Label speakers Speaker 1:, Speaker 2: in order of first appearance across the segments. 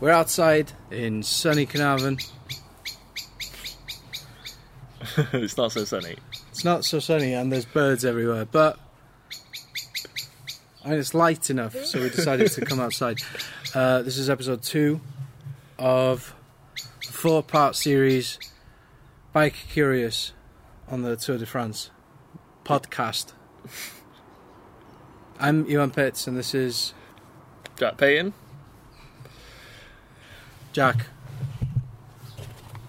Speaker 1: We're outside in sunny Carnarvon.
Speaker 2: it's not so sunny.
Speaker 1: It's not so sunny and there's birds everywhere, but I mean, it's light enough, so we decided to come outside. Uh, this is episode two of a four part series Bike Curious on the Tour de France podcast. I'm Ewan Pitts and this is
Speaker 2: Jack Payton.
Speaker 1: Jack,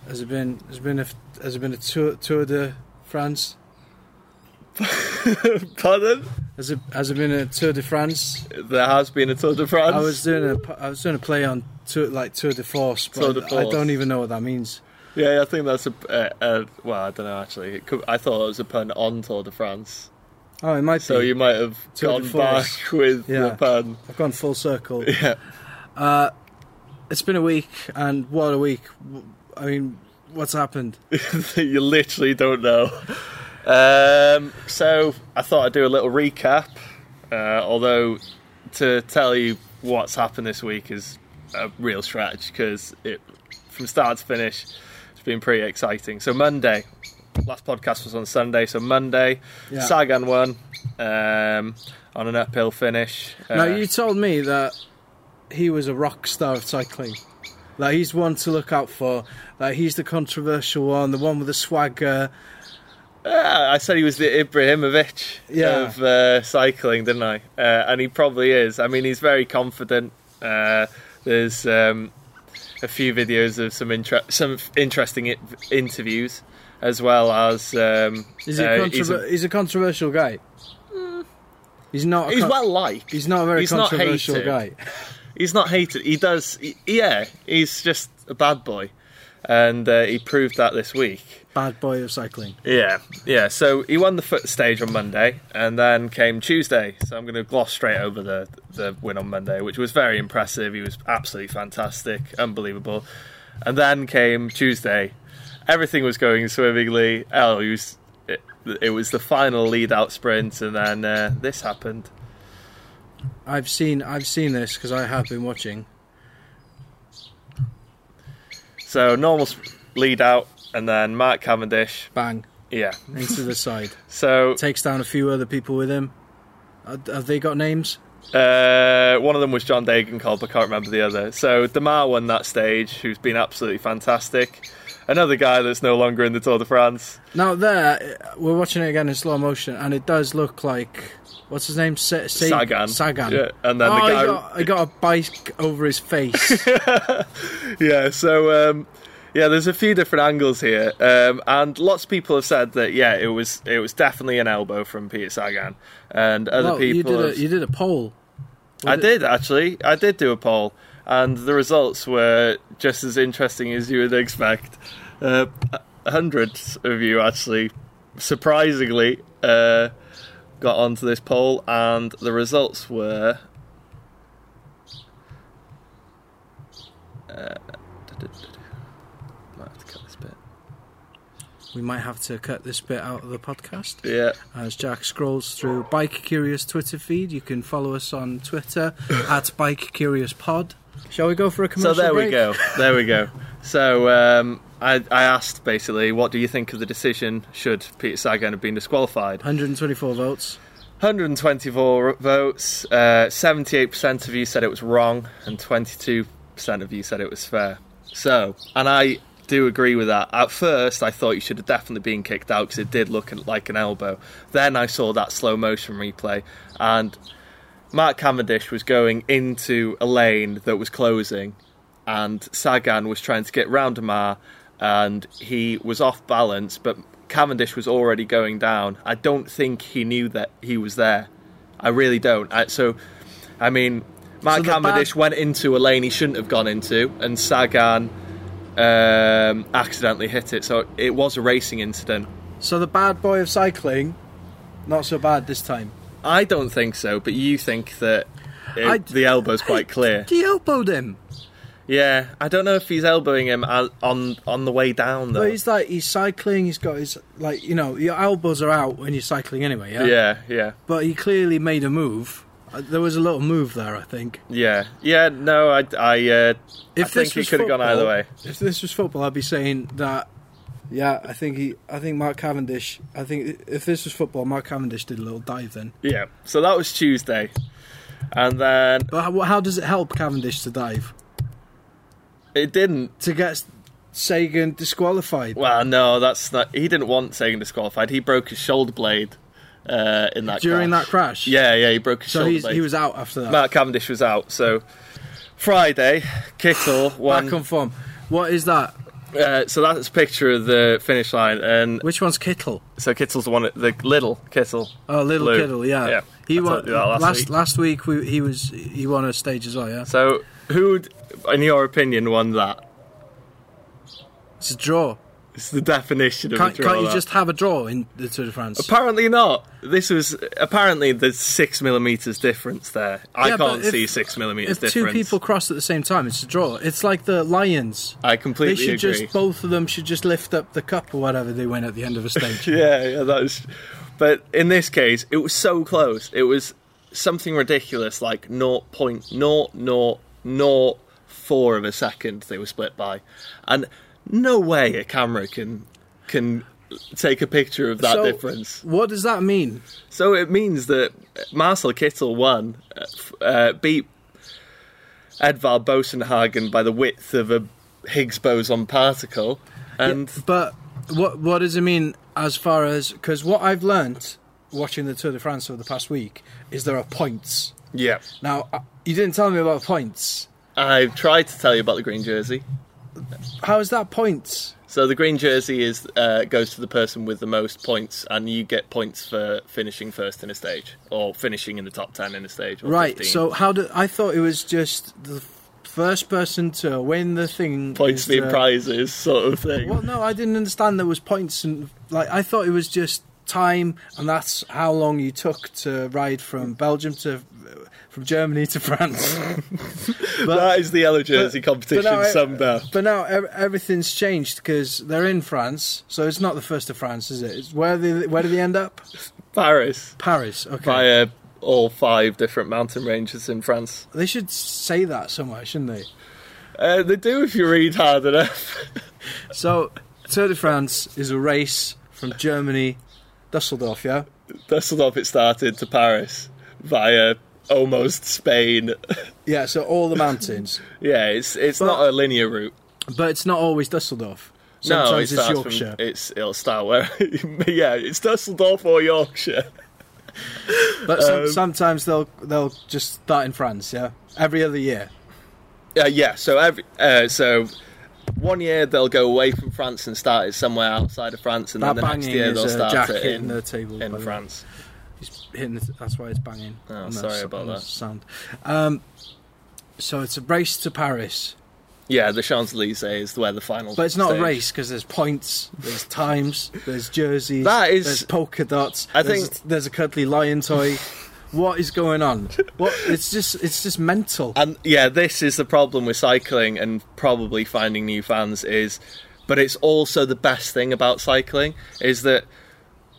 Speaker 1: has it been has it been a has it been a tour tour de France?
Speaker 2: Pardon?
Speaker 1: Has it has it been a tour de France?
Speaker 2: There has been a Tour de France.
Speaker 1: I was doing a I was doing a play on tour like tour de force, but
Speaker 2: Tour de
Speaker 1: I
Speaker 2: force.
Speaker 1: don't even know what that means.
Speaker 2: Yeah, I think that's a. Uh, uh, well, I don't know actually. It could, I thought it was a pun on Tour de France.
Speaker 1: Oh, it might
Speaker 2: So
Speaker 1: be.
Speaker 2: you might have
Speaker 1: Tour de
Speaker 2: gone
Speaker 1: force.
Speaker 2: back with
Speaker 1: Yeah.
Speaker 2: the pun.
Speaker 1: I've gone full circle.
Speaker 2: Yeah.
Speaker 1: It's been a week, and what a week! W- I mean, what's happened?
Speaker 2: you literally don't know. Um, so I thought I'd do a little recap. Uh, although to tell you what's happened this week is a real stretch because it from start to finish it's been pretty exciting. So Monday, last podcast was on Sunday. So Monday,
Speaker 1: Yeah.
Speaker 2: Sagan won um, on an uphill finish.
Speaker 1: now
Speaker 2: Uh,
Speaker 1: you told me that he was a rock star of cycling. That he's one to look out for. That he's the controversial one, the one with the swagger.
Speaker 2: Yeah, Ah, I said he was the Ibrahimovic
Speaker 1: Yeah.
Speaker 2: of uh, cycling, didn't I? Uh, and he probably is. I mean, he's very confident. Uh, there's um, a few videos of some inter- some interesting I- interviews, as well as um,
Speaker 1: Is he
Speaker 2: uh,
Speaker 1: a
Speaker 2: he's, Mm.
Speaker 1: controver- he's, a, controversial guy. He's not. A
Speaker 2: he's
Speaker 1: con-
Speaker 2: well liked.
Speaker 1: he's not a very
Speaker 2: he's not
Speaker 1: controversial
Speaker 2: hated.
Speaker 1: guy.
Speaker 2: He's not hated. He does. he- yeah, he's just a bad boy, and uh, he proved that this week.
Speaker 1: Bad boy of cycling.
Speaker 2: Yeah, yeah. So he won the foot stage on Monday, and then came Tuesday. So I'm going to gloss straight over the the win on Monday, which was very impressive. He was absolutely fantastic, unbelievable. And then came Tuesday. Everything was going swimmingly. Oh, he was. It, it was the final lead out sprint, and then uh, this happened.
Speaker 1: I've seen. I've seen this because I have been watching.
Speaker 2: So normal sp- lead out, and then Mark Cavendish.
Speaker 1: Bang
Speaker 2: Yeah.
Speaker 1: into the side.
Speaker 2: So
Speaker 1: Takes down a few other people with him. Uh, Have they got names?
Speaker 2: Uh, one of them was John Degenkolb. I can't remember the other. So Demar won that stage, who's been absolutely fantastic. Another guy that's no longer in the Tour de France.
Speaker 1: Now there, uh, we're watching it again in slow motion, and it does look like what's his name? Sa- Sa-
Speaker 2: Sagan.
Speaker 1: Sagan.
Speaker 2: Yeah, and then the
Speaker 1: oh,
Speaker 2: guy-
Speaker 1: I got, I got a bike over his face.
Speaker 2: Yeah. So um, yeah, there's a few different angles here, um, and lots of people have said that yeah, it was it was definitely an elbow from Peter Sagan, and other
Speaker 1: Well, you
Speaker 2: people.
Speaker 1: did a,
Speaker 2: have-
Speaker 1: you did a poll.
Speaker 2: I did actually. I did do a poll, and the results were just as interesting as you would expect. Uh, hundreds of you actually, surprisingly, uh, got onto this poll, and the results were. Uh, might have to cut this bit.
Speaker 1: We might have to cut this bit out of the podcast.
Speaker 2: Yeah,
Speaker 1: As Jack scrolls through Bike Curious Twitter feed, you can follow us on Twitter at Bike Curious Pod. Shall we go for a commercial
Speaker 2: so there we
Speaker 1: break?
Speaker 2: go. There we go. So um, I, I asked basically, what do you think of the decision? Should Peter Sagan have been disqualified?
Speaker 1: 124 votes.
Speaker 2: 124 votes. Uh, 78% of you said it was wrong, and 22% of you said it was fair. So, and I do agree with that. At first, I thought you should have definitely been kicked out because it did look like an elbow. Then I saw that slow motion replay, and Mark Cavendish was going into a lane that was closing, and Sagan was trying to get round Amar, and he was off balance, but Cavendish was already going down. I don't think he knew that he was there. I really don't. I, so, I mean, Mark
Speaker 1: So the
Speaker 2: Cavendish
Speaker 1: bad-
Speaker 2: went into a lane he shouldn't have gone into, and Sagan um, accidentally hit it. So it was a racing incident.
Speaker 1: So the bad boy of cycling, not so bad this time.
Speaker 2: I don't think so, but you think that it,
Speaker 1: I-
Speaker 2: the elbow's quite clear.
Speaker 1: He elbowed him.
Speaker 2: Yeah, I don't know if he's elbowing him al- on on the way down though.
Speaker 1: But he's like he's cycling. He's got his like you know your elbows are out when you're cycling anyway. Yeah.
Speaker 2: yeah, yeah,
Speaker 1: But he clearly made a move Uh, There was a little move there, I think.
Speaker 2: Yeah, yeah, no, I, I, uh,
Speaker 1: If
Speaker 2: I
Speaker 1: this
Speaker 2: think it
Speaker 1: was
Speaker 2: could have gone either
Speaker 1: football-
Speaker 2: way.
Speaker 1: If this was football, I'd be saying that. Yeah, I think he. I think Mark Cavendish. I think if this was football, Mark Cavendish did a little dive then.
Speaker 2: Yeah, so that was Tuesday, and then
Speaker 1: But how, how does it help Cavendish to dive
Speaker 2: it didn't.
Speaker 1: to get Sagan disqualified?
Speaker 2: Well, no, that's not. He didn't want Sagan disqualified. He broke his shoulder blade uh, in that
Speaker 1: During
Speaker 2: crash.
Speaker 1: that crash?
Speaker 2: Yeah, yeah, he broke his
Speaker 1: so
Speaker 2: shoulder
Speaker 1: he's,
Speaker 2: blade.
Speaker 1: he was out after that.
Speaker 2: Mark Cavendish was out. So Friday, Kittle
Speaker 1: Back
Speaker 2: won.
Speaker 1: on form. What is that?
Speaker 2: Uh, so that's a picture of the finish line, and
Speaker 1: Which one's Kittle?
Speaker 2: so Kittle's the one. at- The little Kittle.
Speaker 1: Oh, Little
Speaker 2: Lou.
Speaker 1: Kittle. Yeah.
Speaker 2: Yeah,
Speaker 1: He
Speaker 2: I
Speaker 1: won
Speaker 2: told you that last
Speaker 1: last
Speaker 2: week.
Speaker 1: last week. We, he was he won a stage as well. Yeah.
Speaker 2: So who, would- in your opinion, won that?
Speaker 1: It's a draw.
Speaker 2: It's the definition of a
Speaker 1: Can't,
Speaker 2: draw.
Speaker 1: can't you
Speaker 2: that.
Speaker 1: just have a draw in the Tour de France?
Speaker 2: Apparently not. This was apparently there's six millimeters difference there. I
Speaker 1: Yeah, but
Speaker 2: can't
Speaker 1: if-
Speaker 2: see six millimeters
Speaker 1: if
Speaker 2: difference.
Speaker 1: two people cross at the same time, it's a draw. It's like the Lions.
Speaker 2: I
Speaker 1: They
Speaker 2: completely
Speaker 1: should
Speaker 2: agree.
Speaker 1: just both of them should just lift up the cup or whatever they win at the end of a stage.
Speaker 2: Yeah, yeah, that was. But in this case, it was so close. It was something ridiculous, like 0.0004 of a second they were split by, and no way a camera can can take a picture of that
Speaker 1: So,
Speaker 2: difference.
Speaker 1: What does that mean?
Speaker 2: So it means that Marcel Kittel won, uh, f- uh, beat Edvard Bosenhagen by the width of a Higgs boson particle, and
Speaker 1: But what what does it mean as far as because what I've learnt watching the Tour de France over the past week is there are points.
Speaker 2: yeah.
Speaker 1: Now I- you didn't tell me about points.
Speaker 2: I've tried to tell you about the green jersey.
Speaker 1: How is that points?
Speaker 2: So the green jersey is uh, goes to the person with the most points, and you get points for finishing first in a stage or finishing in the top ten in a stage. Or
Speaker 1: Right.
Speaker 2: 15.
Speaker 1: So how do I thought it was just the first person to win the thing
Speaker 2: points
Speaker 1: is
Speaker 2: being
Speaker 1: the-
Speaker 2: prizes, sort of thing.
Speaker 1: Well, no, I didn't understand there was points and like I thought it was just time, and that's how long you took to ride from Belgium to from Germany to France.
Speaker 2: that is the yellow jersey competition
Speaker 1: now I-
Speaker 2: somehow.
Speaker 1: but now ev- everything's changed because they're in France, so it's not the first of France, is it? It's where they, where do they end up?
Speaker 2: Paris
Speaker 1: Paris. Okay.
Speaker 2: via uh, all five different mountain ranges in France.
Speaker 1: They should say that somewhere, shouldn't they?
Speaker 2: Uh, they do if you read hard enough.
Speaker 1: So Tour de France is a race from Germany, Dusseldorf. Yeah.
Speaker 2: Dusseldorf it started to Paris via almost Spain.
Speaker 1: Yeah. So all the mountains,
Speaker 2: yeah, it's it's not a linear route.
Speaker 1: but it's not always Dusseldorf. Sometimes
Speaker 2: No, it
Speaker 1: it's
Speaker 2: starts
Speaker 1: Yorkshire.
Speaker 2: From, it's it'll start where, yeah, it's Dusseldorf or Yorkshire.
Speaker 1: But some,
Speaker 2: um,
Speaker 1: sometimes they'll they'll just start in France, yeah. Every other year,
Speaker 2: Uh, yeah, so every uh, so one year they'll go away from France and start it somewhere outside of France, and
Speaker 1: that
Speaker 2: then the next
Speaker 1: banging
Speaker 2: year
Speaker 1: is
Speaker 2: they'll
Speaker 1: uh, Jack
Speaker 2: start it
Speaker 1: hitting
Speaker 2: in,
Speaker 1: the table by
Speaker 2: in
Speaker 1: the way.
Speaker 2: France.
Speaker 1: He's hitting the, that's why it's banging.
Speaker 2: Oh,
Speaker 1: on the
Speaker 2: sorry
Speaker 1: s-
Speaker 2: about
Speaker 1: on the
Speaker 2: that.
Speaker 1: Sound. Um, so it's a race to Paris,
Speaker 2: Yeah, the Champs Elysees is where the final.
Speaker 1: but it's not
Speaker 2: stage-
Speaker 1: a race because there's points, there's times, there's jerseys,
Speaker 2: That is-
Speaker 1: there's polka dots.
Speaker 2: I
Speaker 1: there's,
Speaker 2: think-
Speaker 1: there's a cuddly lion toy. what is going on? What it's just it's just mental.
Speaker 2: And yeah, this is the problem with cycling and probably finding new fans is, but it's also the best thing about cycling is that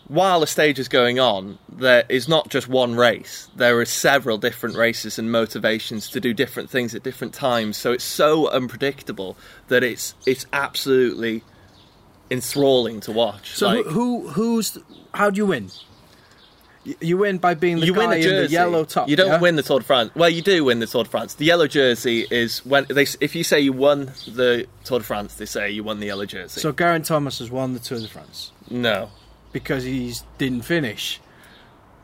Speaker 2: while a stage is going on, there is not just one race. There are several different races and motivations to do different things at different times. So it's so unpredictable that it's it's absolutely enthralling to watch.
Speaker 1: So
Speaker 2: Like-
Speaker 1: who, who who's how do you win? Y- You win by being the
Speaker 2: you
Speaker 1: guy
Speaker 2: win a
Speaker 1: in
Speaker 2: jersey.
Speaker 1: the yellow top.
Speaker 2: You don't
Speaker 1: yeah?
Speaker 2: win the Tour de France. Well, you do win the Tour de France. The yellow jersey is when they. If you say you won the Tour de France, they say you won the yellow jersey.
Speaker 1: So Garen Thomas has won the Tour de France
Speaker 2: no.
Speaker 1: because he didn't finish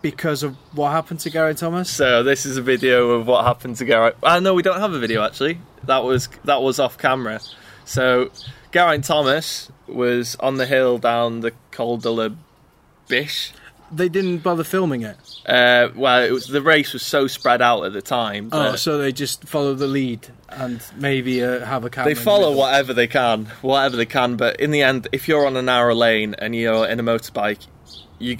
Speaker 1: because of what happened to Garen Thomas.
Speaker 2: So this is a video of what happened to Geraint. Ah, no, we don't have a video actually. That was that was off camera. So Geraint Thomas was on the hill down the Col de la Biche.
Speaker 1: They didn't bother filming it.
Speaker 2: Uh, well, it was, the race was so spread out at the time.
Speaker 1: Oh,
Speaker 2: that-
Speaker 1: so they just follow the lead and maybe uh, have a camera.
Speaker 2: They
Speaker 1: in the
Speaker 2: follow
Speaker 1: middle.
Speaker 2: whatever they can, whatever they can. But in the end, if you're on a narrow lane and you're in a motorbike, you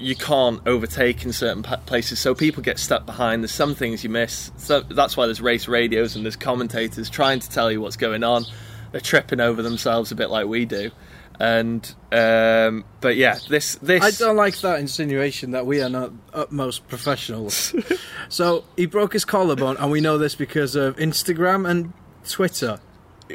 Speaker 2: you can't overtake in certain pa- places. So people get stuck behind. There's some things you miss. So that's why there's race radios and there's commentators trying to tell you what's going on. They're tripping over themselves a bit like we do. And um, but yeah, this this
Speaker 1: I don't like that insinuation that we are not utmost professionals. so he broke his collarbone, and we know this because of Instagram and Twitter.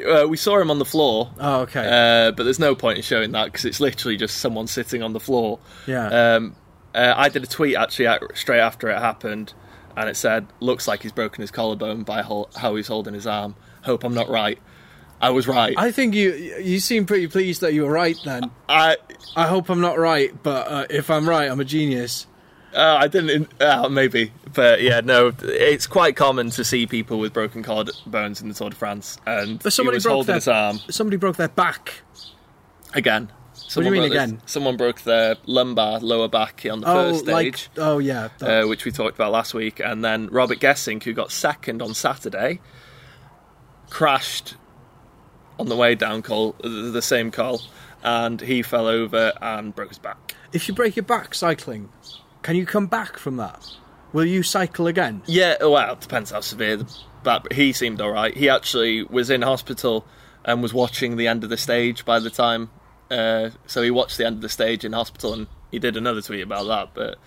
Speaker 2: uh, we saw him on the floor,
Speaker 1: Oh, okay.
Speaker 2: uh, but there's no point in showing that because it's literally just someone sitting on the floor.
Speaker 1: yeah.
Speaker 2: Um, uh, I did a tweet actually out, straight after it happened, and it said, "Looks like he's broken his collarbone by hol- how he's holding his arm. Hope I'm not right." I was right. I,
Speaker 1: I think you you seem pretty pleased that you were right then.
Speaker 2: I,
Speaker 1: I hope I'm not right, but uh, if I'm right, I'm a genius.
Speaker 2: uh, I didn't. Uh, maybe, but yeah, no. It's quite common to see people with broken collarbones in the Tour de France, and
Speaker 1: But
Speaker 2: he
Speaker 1: somebody
Speaker 2: was
Speaker 1: broke
Speaker 2: holding
Speaker 1: their
Speaker 2: his arm
Speaker 1: Somebody broke their back.
Speaker 2: again.
Speaker 1: do you
Speaker 2: Someone
Speaker 1: mean
Speaker 2: broke their-
Speaker 1: again?
Speaker 2: someone broke their lumbar lower back on the
Speaker 1: Oh,
Speaker 2: first
Speaker 1: like
Speaker 2: stage.
Speaker 1: oh yeah. that-
Speaker 2: uh, which we talked about last week, and then Robert Gessink, who got second on Saturday, crashed on the way down call the the same call, and he fell over and broke his back.
Speaker 1: if you break your back cycling, can you come back from that? Will you cycle again?
Speaker 2: Yeah, well, it depends how severe the back. But he seemed all right. He actually was in hospital and was watching the end of the stage by the time. Uh, so he watched the end of the stage in hospital, and he did another tweet about that. But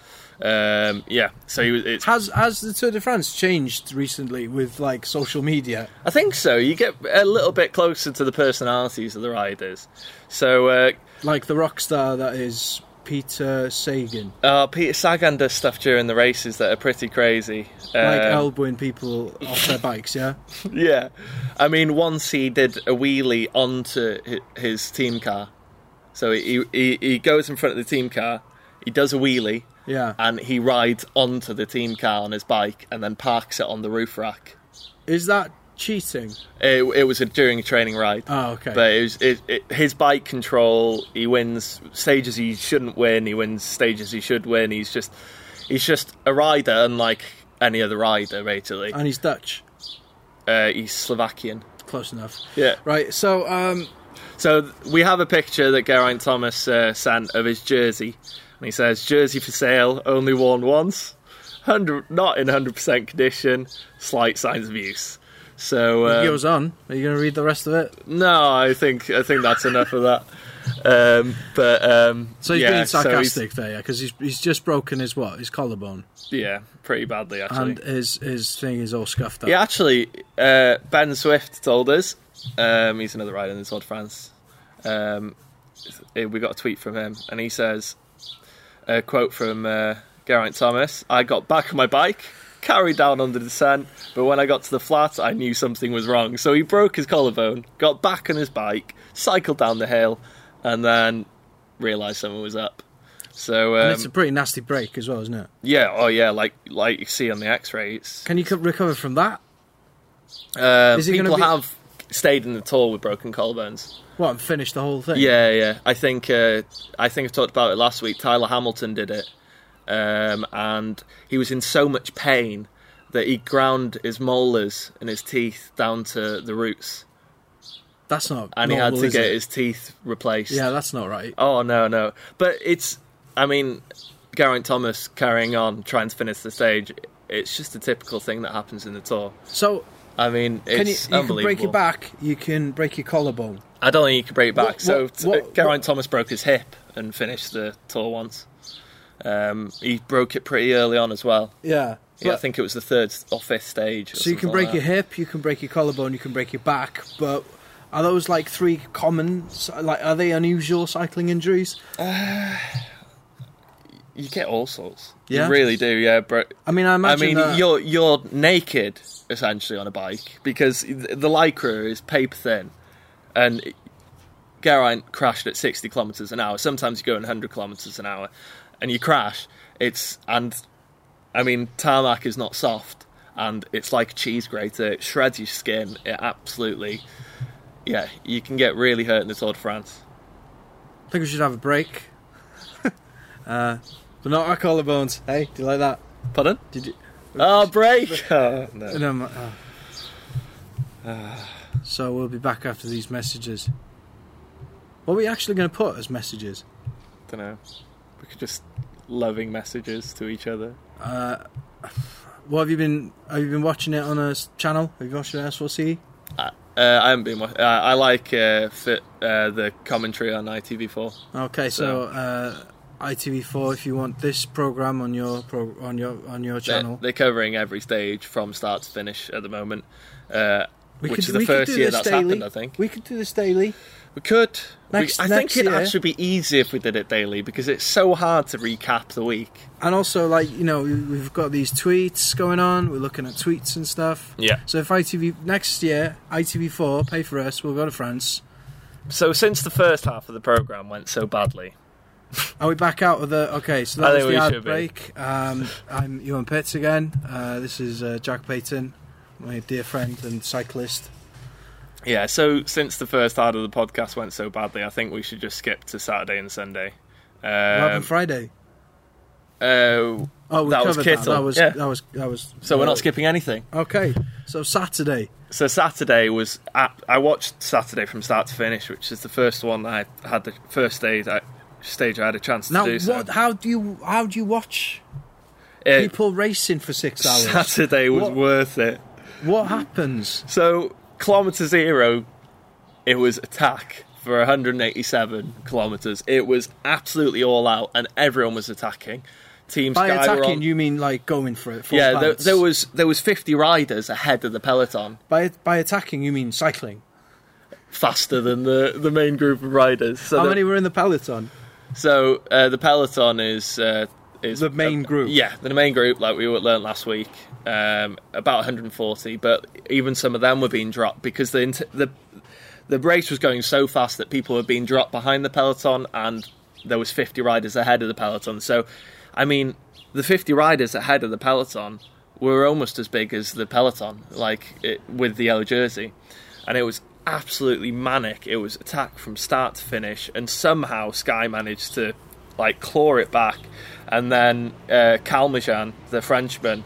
Speaker 2: um, yeah, so he was. It's
Speaker 1: Has has the Tour de France changed recently with like social media?
Speaker 2: I think so. You get a little bit closer to the personalities of the riders. So, uh,
Speaker 1: Like the rock star that is Peter Sagan,
Speaker 2: uh, Peter Sagan does stuff during the races that are pretty crazy.
Speaker 1: like
Speaker 2: Um,
Speaker 1: elbowing people off their bikes. Yeah.
Speaker 2: yeah. I mean, once he did a wheelie onto hi- his team car. So he, he, he goes in front of the team car, he does a wheelie,
Speaker 1: Yeah.
Speaker 2: and he rides onto the team car on his bike and then parks it on the roof rack.
Speaker 1: Is that cheating?
Speaker 2: It, it was a, during a training ride.
Speaker 1: Oh, okay.
Speaker 2: But it was, it, it, his bike control, he wins stages he shouldn't win. He wins stages he should win. He's just, he's just a rider, unlike any other rider, basically.
Speaker 1: and he's Dutch.
Speaker 2: Uh, he's Slovakian.
Speaker 1: Close enough.
Speaker 2: Yeah.
Speaker 1: Right. So um,
Speaker 2: So th- we have a picture that Geraint Thomas uh, sent of his jersey, and he says, "Jersey for sale, only worn once, hundred not in hundred percent condition, slight signs of use." So
Speaker 1: it
Speaker 2: um,
Speaker 1: goes on. Are you going to read the rest of it?
Speaker 2: No, I think I think that's enough of that. Um, but um,
Speaker 1: So he's
Speaker 2: yeah,
Speaker 1: being
Speaker 2: so he's-
Speaker 1: sarcastic there, yeah, because he's he's just broken his what his collarbone,
Speaker 2: yeah, pretty badly
Speaker 1: and
Speaker 2: actually.
Speaker 1: his his thing is all scuffed up.
Speaker 2: yeah, actually, uh, Ben Swift told us um, he's another rider in the Tour de France. Um, eh, we got a tweet from him, and he says, a quote from uh, Geraint Thomas: "I got back on my bike." Carried down under the descent, but when I got to the flat, I knew something was wrong. So he broke his collarbone, got back on his bike, cycled down the hill, and then realised someone was up. So
Speaker 1: and
Speaker 2: um,
Speaker 1: it's a pretty nasty break as well, isn't it?
Speaker 2: yeah, oh yeah, like like you see on the X-rays,
Speaker 1: Can you co- recover from that?
Speaker 2: Um,
Speaker 1: Is it
Speaker 2: people
Speaker 1: gonna be-
Speaker 2: have stayed in the tour with broken collarbones.
Speaker 1: What and finish the whole thing?
Speaker 2: Yeah, yeah. I think uh, I think I talked about it last week. Tyler Hamilton did it, um, and he was in so much pain that he ground his molars and his teeth down to the roots,
Speaker 1: that's not.
Speaker 2: and
Speaker 1: normal,
Speaker 2: he had
Speaker 1: is
Speaker 2: to get
Speaker 1: it?
Speaker 2: his teeth replaced.
Speaker 1: Yeah, that's not right.
Speaker 2: Oh no, no. But it's, I mean, Geraint Thomas carrying on, trying to finish the stage. It's just a typical thing that happens in the tour.
Speaker 1: So
Speaker 2: I mean,
Speaker 1: can you,
Speaker 2: it's
Speaker 1: you can
Speaker 2: unbelievable.
Speaker 1: break your back, you can break your collarbone.
Speaker 2: I don't think you could break it back.
Speaker 1: What-
Speaker 2: so
Speaker 1: what-
Speaker 2: t- uh,
Speaker 1: what-
Speaker 2: Geraint
Speaker 1: what-
Speaker 2: Thomas broke his hip and finished the tour once. Um, he broke it pretty early on as well.
Speaker 1: Yeah.
Speaker 2: Yeah, I
Speaker 1: But-
Speaker 2: think it was the third or fifth stage. or
Speaker 1: so you can
Speaker 2: something
Speaker 1: break
Speaker 2: like
Speaker 1: your
Speaker 2: that.
Speaker 1: hip, you can break your collarbone, you can break your back, but. Are those like three common, like are they unusual cycling injuries?
Speaker 2: You get all sorts.
Speaker 1: Yeah?
Speaker 2: You really do. Yeah, bro.
Speaker 1: I mean, I
Speaker 2: I
Speaker 1: imagine.
Speaker 2: mean,
Speaker 1: that-
Speaker 2: you're you're naked essentially on a bike because the the lycra is paper thin, and Geraint crashed at 60 kilometers an hour. Sometimes you go in 100 kilometers an hour, and you crash. It's and I mean tarmac is not soft, and it's like a cheese grater. It shreds your skin. It absolutely, yeah, you can get really hurt in the Tour de France.
Speaker 1: I think we should have a break. uh, but not our collarbones. Hey, do you like that?
Speaker 2: Pardon?
Speaker 1: Did you?
Speaker 2: Oh, break! Oh, no.
Speaker 1: No, my- oh. uh, So we'll be back after these messages. What are we actually going to put as messages?
Speaker 2: don't know. We could just loving messages to each other.
Speaker 1: Uh, what have you been? Have you been watching it on a s- channel? Have you watched it on S4C?
Speaker 2: I, Uh, I haven't been. wa- Uh, I like uh, fit, uh, the commentary on ITV4.
Speaker 1: Okay, so uh, ITV4, if you want this program on your pro- on your on your
Speaker 2: They're,
Speaker 1: channel,
Speaker 2: they're covering every stage from start to finish at the moment, uh,
Speaker 1: we
Speaker 2: which
Speaker 1: could,
Speaker 2: is the
Speaker 1: we
Speaker 2: first
Speaker 1: could do
Speaker 2: year
Speaker 1: this
Speaker 2: that's
Speaker 1: daily.
Speaker 2: happened. I think
Speaker 1: we could do this daily.
Speaker 2: we could. We-
Speaker 1: Next-
Speaker 2: I
Speaker 1: next
Speaker 2: think it'd
Speaker 1: year-
Speaker 2: actually be easy if we did it daily because it's so hard to recap the week.
Speaker 1: And also, like you know, we- we've got these tweets going on. We're looking at tweets and stuff.
Speaker 2: Yeah.
Speaker 1: So if ITV next year, ITV4 pay for us, we'll go to France.
Speaker 2: So since the first half of the program went so badly,
Speaker 1: Are we back out of the? Okay, so
Speaker 2: I
Speaker 1: that was
Speaker 2: think
Speaker 1: the
Speaker 2: we
Speaker 1: ad
Speaker 2: should be.
Speaker 1: break. Um, I'm Ewan Pitts again. Uh, this is uh, Jack Payton, my dear friend and cyclist.
Speaker 2: Yeah, so since the first part of the podcast went so badly, I think we should just skip to Saturday and Sunday.
Speaker 1: What
Speaker 2: Um,
Speaker 1: happened Friday?
Speaker 2: uh,
Speaker 1: Oh, we
Speaker 2: that
Speaker 1: covered
Speaker 2: was
Speaker 1: that.
Speaker 2: Kittle,
Speaker 1: That was,
Speaker 2: yeah.
Speaker 1: that was that was.
Speaker 2: so we're
Speaker 1: uh,
Speaker 2: not skipping anything.
Speaker 1: Okay, so Saturday.
Speaker 2: So Saturday was at, I watched Saturday from start to finish, which is the first one that I had the first stage I, stage I had a chance to
Speaker 1: Now,
Speaker 2: do.
Speaker 1: what?
Speaker 2: So
Speaker 1: How do you how do you watch
Speaker 2: It-
Speaker 1: people racing for six hours?
Speaker 2: Saturday was
Speaker 1: What-
Speaker 2: worth it.
Speaker 1: What happens?
Speaker 2: So kilometer zero, it was attack for 187 kilometers. It was absolutely all out, and everyone was attacking. Team
Speaker 1: By
Speaker 2: Sky were
Speaker 1: attacking,
Speaker 2: on-
Speaker 1: you mean like going for it? full
Speaker 2: Yeah, there,
Speaker 1: pants.
Speaker 2: there was there was 50 riders ahead of the peloton,
Speaker 1: By by attacking, you mean cycling.
Speaker 2: faster than the, the main group of riders. So
Speaker 1: How
Speaker 2: the,
Speaker 1: many were in the peloton?
Speaker 2: So uh, the peloton is uh, is
Speaker 1: The main group.
Speaker 2: Yeah, the main group, like we learned last week, um, about 140. But even some of them were being dropped because the int- the the race was going so fast that people were being dropped behind the peloton, and there was 50 riders ahead of the peloton. So, I mean, the 50 riders ahead of the peloton were almost as big as the peloton, like it, with the yellow jersey, and it was absolutely manic. It was attack from start to finish, and somehow Sky managed to like claw it back, and then uh, Calmejean, the Frenchman,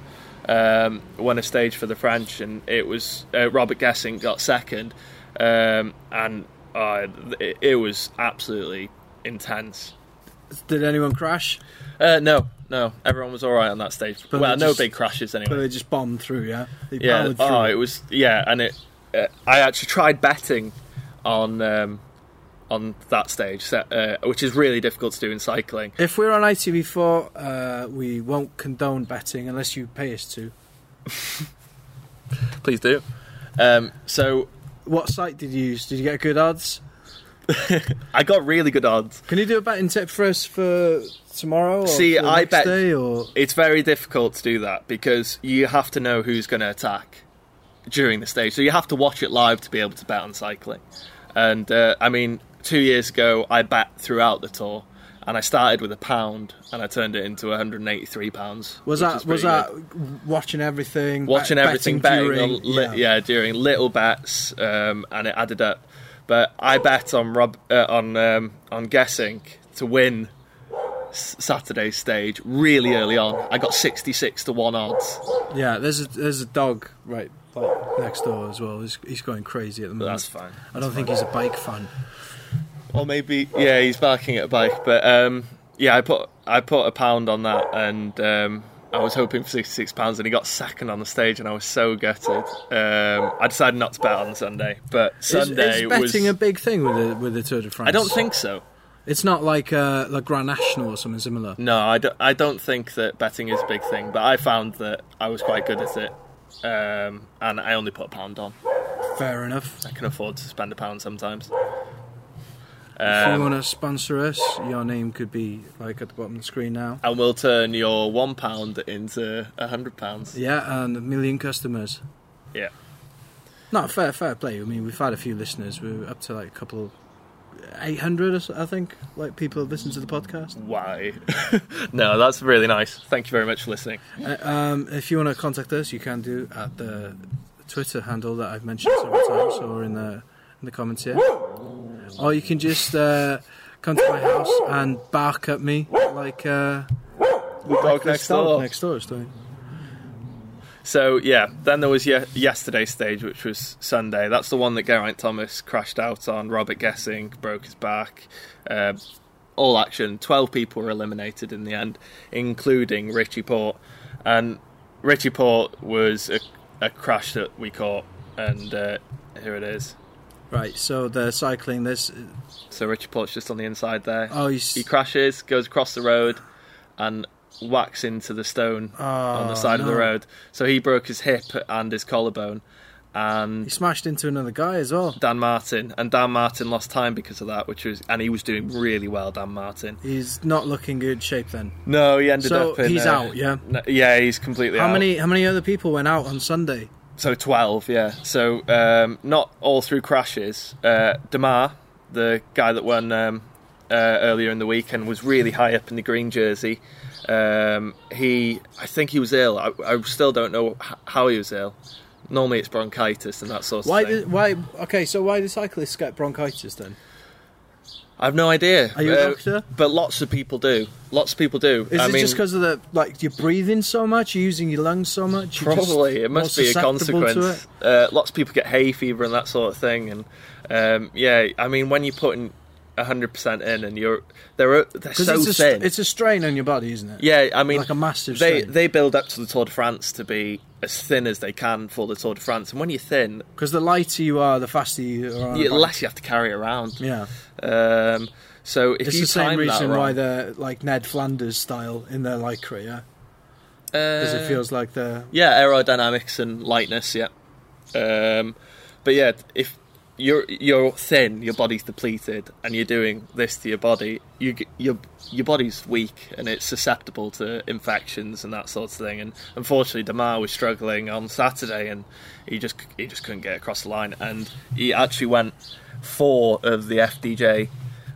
Speaker 2: um, won a stage for the French, and it was uh, Robert Guessing got second, um, and uh, it, it was absolutely intense.
Speaker 1: Did anyone crash?
Speaker 2: Uh, no, no, everyone was all right on that stage.
Speaker 1: But
Speaker 2: well,
Speaker 1: they
Speaker 2: no
Speaker 1: just-
Speaker 2: big crashes
Speaker 1: But
Speaker 2: anyway.
Speaker 1: they just bombed through. Yeah, they
Speaker 2: Yeah,
Speaker 1: powered through.
Speaker 2: oh, it was yeah, and it. Uh, I actually tried betting on um, on that stage, so- uh, which is really difficult to do in cycling.
Speaker 1: If we're on ITV4, uh, we won't condone betting unless you pay us to.
Speaker 2: Please do. Um, so
Speaker 1: What site did you use? Did you get good odds?
Speaker 2: I got really good odds.
Speaker 1: Can you do a betting tip for us for tomorrow? Or
Speaker 2: See,
Speaker 1: for
Speaker 2: I
Speaker 1: next
Speaker 2: bet-
Speaker 1: day or
Speaker 2: It's very difficult to do that because you have to know who's going to attack during the stage. So you have to watch it live to be able to bet on cycling. And uh, I mean, two years ago, I bet throughout the tour, and I started with a pound, and I turned it into 183 pounds.
Speaker 1: was
Speaker 2: which
Speaker 1: that
Speaker 2: is
Speaker 1: was
Speaker 2: pretty
Speaker 1: that
Speaker 2: good.
Speaker 1: watching everything? bet-
Speaker 2: watching everything, betting,
Speaker 1: during-
Speaker 2: on li- yeah. during little bets, um, and it added up. But I bet on Rob uh, on um, on guessing to win S- Saturday's stage really early on. I got 66 to one odds.
Speaker 1: Yeah, there's a there's a dog right like next door as well. He's, he's going crazy at the
Speaker 2: But
Speaker 1: moment.
Speaker 2: that's fine.
Speaker 1: I don't think he's a bike fan.
Speaker 2: Or maybe yeah, he's barking at a bike. But um, yeah, I put I put a pound on that, and um, I was hoping for sixty six pounds, and he got second on the stage, and I was so gutted. Um, I decided not to bet on Sunday, but Sunday
Speaker 1: is, is betting
Speaker 2: was.
Speaker 1: a big thing with the with the Tour de France.
Speaker 2: I don't think so.
Speaker 1: it's not like uh, La Grand National or something similar.
Speaker 2: No, I don't, I don't think that betting is a big thing, but I found that I was quite good at it. Um, and I only put a pound on.
Speaker 1: Fair enough.
Speaker 2: I can afford to spend a pound sometimes.
Speaker 1: if you
Speaker 2: Um,
Speaker 1: want to sponsor us, your name could be like at the bottom of the screen now.
Speaker 2: and we'll turn your one pound into a hundred pounds.
Speaker 1: Yeah, and a million customers.
Speaker 2: Yeah.
Speaker 1: No, fair fair play. I mean, we've had a few listeners. We're up to like a couple, eight hundred, or so, I think. Like people have listened to the podcast.
Speaker 2: Why? no, that's really nice. Thank you very much for listening.
Speaker 1: Uh, um, if you want to contact us, you can do at the Twitter handle that I've mentioned several times, or in the in the comments here, or you can just uh, come to my house and bark at me like uh,
Speaker 2: The dog
Speaker 1: this dog next door is doing.
Speaker 2: So yeah, then there was ye- yesterday's stage, which was Sunday. That's the one that Geraint Thomas crashed out on. Robert Guessing broke his back. Uh, all action. Twelve people were eliminated in the end, including Richie Port. And Richie Port was a, a crash that we caught, and uh, Here it is.
Speaker 1: Right, so they're cycling this.
Speaker 2: So Richard Port's just on the inside there.
Speaker 1: Oh, he's.
Speaker 2: He crashes, goes across the road, and whacks into the stone
Speaker 1: oh,
Speaker 2: on the side of the
Speaker 1: no.
Speaker 2: road. So he broke his hip and his collarbone. And
Speaker 1: He smashed into another guy as well.
Speaker 2: Dan Martin, and Dan Martin lost time because of that, which was, and he was doing really well, Dan Martin.
Speaker 1: He's not looking good shape then.
Speaker 2: No, he ended
Speaker 1: So
Speaker 2: up. In,
Speaker 1: he's
Speaker 2: uh,
Speaker 1: out, yeah?
Speaker 2: n- yeah, he's completely
Speaker 1: How
Speaker 2: out.
Speaker 1: many how many other people went out on Sunday?
Speaker 2: So twelve, yeah. So um, not all through crashes. Uh, Demar, the guy that won um, uh, earlier in the weekend, was really high up in the green jersey. Um, he, I think he was ill. I, I still don't know h- how he was ill. Normally it's bronchitis and that sort of
Speaker 1: Why
Speaker 2: thing.
Speaker 1: did why okay, so why do cyclists get bronchitis then?
Speaker 2: I've no idea. Uh,
Speaker 1: Are you a doctor?
Speaker 2: But lots of people do. Lots of people do.
Speaker 1: Is
Speaker 2: I
Speaker 1: it
Speaker 2: mean,
Speaker 1: just because of the like you're breathing so much, you're using your lungs so much? You're just
Speaker 2: Probably, it
Speaker 1: more
Speaker 2: must be a
Speaker 1: susceptible to
Speaker 2: consequence.
Speaker 1: it?
Speaker 2: Uh, lots of people get hay fever and that sort of thing, and um, yeah, I mean, when you're putting hundred percent in, and you're they're uh, they're
Speaker 1: 'Cause
Speaker 2: so
Speaker 1: it's, a,
Speaker 2: thin.
Speaker 1: st- it's a strain on your body, isn't it?
Speaker 2: yeah, I mean,
Speaker 1: like a massive
Speaker 2: they
Speaker 1: strain.
Speaker 2: they build up to the Tour de France to be as thin as they can for the Tour de France, and when you're thin,
Speaker 1: Because the lighter you are, the faster you are. On a
Speaker 2: you,
Speaker 1: bike.
Speaker 2: less you have to carry around.
Speaker 1: yeah,
Speaker 2: Um, so if
Speaker 1: it's
Speaker 2: you
Speaker 1: the same
Speaker 2: time that
Speaker 1: reason why
Speaker 2: wrong-
Speaker 1: they're like Ned Flanders style in their lycra, yeah, because
Speaker 2: Uh,
Speaker 1: it feels like they're
Speaker 2: Yeah, aerodynamics and lightness. Yeah, um, but yeah, if you're you're thin, your body's depleted, and you're doing this to your body, you g- your your body's weak and it's susceptible to infections and that sort of thing. And unfortunately, Demar was struggling on Saturday, and he just he just couldn't get across the line, and he actually went four of the FDJ.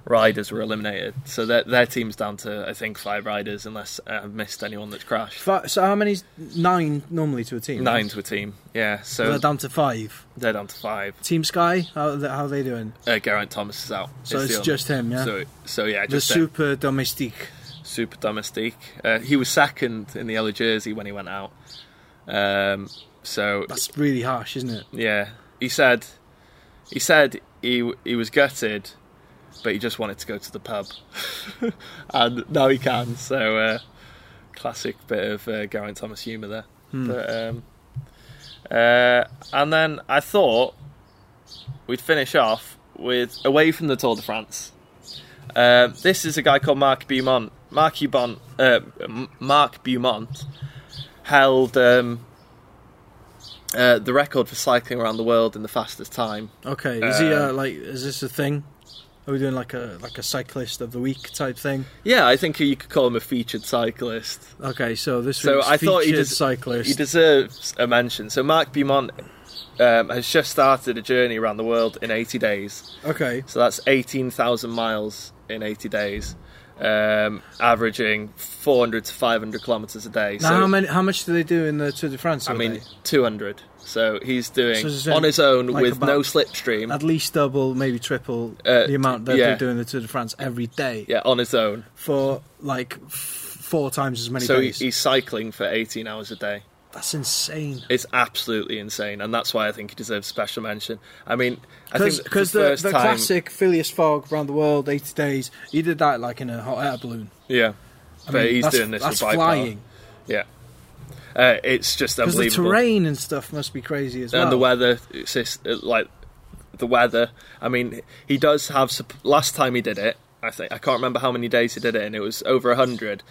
Speaker 2: Riders were eliminated, so their their team's down to I think five riders, unless I've missed anyone that's crashed.
Speaker 1: Fi so how many? Nine normally to a team.
Speaker 2: Nine
Speaker 1: right?
Speaker 2: to a team, yeah. So
Speaker 1: So they're down to five.
Speaker 2: they're down to five.
Speaker 1: Team Sky, how are they, how are they doing?
Speaker 2: Uh, Geraint Thomas is out.
Speaker 1: So
Speaker 2: Is
Speaker 1: it's,
Speaker 2: the only-
Speaker 1: just him, yeah.
Speaker 2: So, so yeah,
Speaker 1: the
Speaker 2: just him.
Speaker 1: super domestique.
Speaker 2: super domestique. Uh, he was second in the yellow jersey when he went out. Um, so
Speaker 1: That's really harsh, isn't it?
Speaker 2: yeah, he said, he said he he was gutted, but he just wanted to go to the pub, and now he can. So uh, classic bit of uh, Geraint Thomas humour there. But, um, uh, and then I thought we'd finish off with away from the Tour de France. Um, this is a guy called Mark Beaumont. Mark Beaumont, uh, M- Mark Beaumont held um, uh, the record for cycling around the world in the fastest time.
Speaker 1: Okay, is he uh,
Speaker 2: Um,
Speaker 1: like? Is this a thing? Are we doing like a like a cyclist of the week type thing?
Speaker 2: Yeah, I think you could call him a featured cyclist.
Speaker 1: Okay, so this
Speaker 2: So
Speaker 1: week's
Speaker 2: I thought he
Speaker 1: featured
Speaker 2: des-
Speaker 1: cyclist.
Speaker 2: He deserves a mention. So Mark Beaumont um, has just started a journey around the world in 80 days.
Speaker 1: okay,
Speaker 2: So that's 18,000 miles in 80 days, um, averaging 400 to 500 kilometers a day.
Speaker 1: now
Speaker 2: so,
Speaker 1: how many? How much do they do in the Tour de France?
Speaker 2: I
Speaker 1: all
Speaker 2: mean,
Speaker 1: day?
Speaker 2: 200. So he's doing
Speaker 1: So it's
Speaker 2: on his own
Speaker 1: like
Speaker 2: with no
Speaker 1: about-
Speaker 2: slipstream.
Speaker 1: at least double, maybe triple
Speaker 2: Uh,
Speaker 1: the amount that
Speaker 2: yeah.
Speaker 1: they do in the Tour de France every day
Speaker 2: Yeah, on his own.
Speaker 1: for like f- four times as many
Speaker 2: So he,
Speaker 1: days.
Speaker 2: he's cycling for 18 hours a day.
Speaker 1: That's insane.
Speaker 2: It's absolutely insane, and that's why I think he deserves special mention. I mean, I think that for
Speaker 1: Because the,
Speaker 2: first
Speaker 1: the
Speaker 2: time,
Speaker 1: classic Phileas Fogg round the world, 80 days, he did that like in a hot air balloon.
Speaker 2: yeah,
Speaker 1: I
Speaker 2: but
Speaker 1: mean,
Speaker 2: he's
Speaker 1: that's,
Speaker 2: doing this
Speaker 1: that's
Speaker 2: with bipolar.
Speaker 1: flying.
Speaker 2: Yeah, uh, it's just
Speaker 1: Because the
Speaker 2: unbelievable.
Speaker 1: terrain and stuff must be crazy as well.
Speaker 2: and the weather it's just, uh, like the weather i mean he does have sup- last time he did it i think i can't remember how many days he did it and it was over 100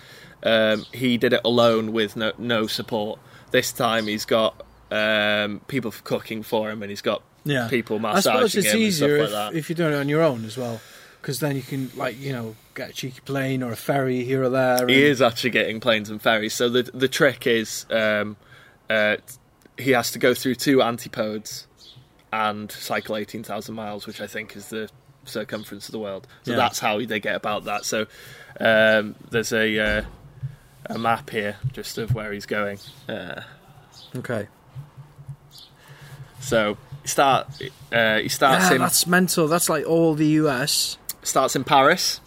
Speaker 2: um, he did it alone with no, no support this time he's got um, people f- cooking for him and he's got
Speaker 1: yeah.
Speaker 2: people
Speaker 1: I suppose
Speaker 2: massaging
Speaker 1: it's
Speaker 2: him and stuff
Speaker 1: easier
Speaker 2: like
Speaker 1: if,
Speaker 2: that
Speaker 1: if you're doing it on your own as well. Because then you can, like, you know, get a cheeky plane or a ferry here or there.
Speaker 2: he
Speaker 1: and-
Speaker 2: is actually getting planes and ferries so the the trick is um, uh, he has to go through two antipodes and cycle 18,000 miles, which I think is the circumference of the world. So
Speaker 1: Yeah.
Speaker 2: that's how they get about that. So um, there's a uh, a map here just of where he's going. Uh,
Speaker 1: Okay.
Speaker 2: so start uh, he starts
Speaker 1: yeah,
Speaker 2: in
Speaker 1: that's mental. That's like all the US.
Speaker 2: starts in Paris,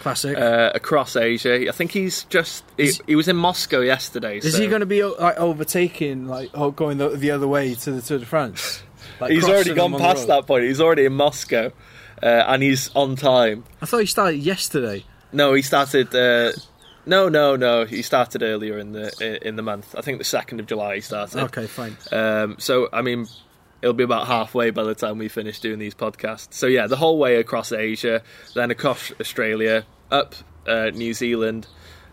Speaker 1: Classic.
Speaker 2: uh, across Asia. I think he's just he,
Speaker 1: Is-
Speaker 2: he was in Moscow yesterday.
Speaker 1: is
Speaker 2: so
Speaker 1: he going to be o- like overtaking, like, or going the, the other way to the Tour de France? Like,
Speaker 2: He's already
Speaker 1: crossing
Speaker 2: gone
Speaker 1: them on the
Speaker 2: past
Speaker 1: road?
Speaker 2: that point. He's already in Moscow, uh, and he's on time.
Speaker 1: I thought he started yesterday.
Speaker 2: No, he started. Uh, no, no, no. He started earlier in the in the month. I think the second of July he started.
Speaker 1: Okay, fine.
Speaker 2: Um, so I mean, it'll be about halfway by the time we finish doing these podcasts. So yeah, the whole way across Asia, then across Australia, up uh, New Zealand,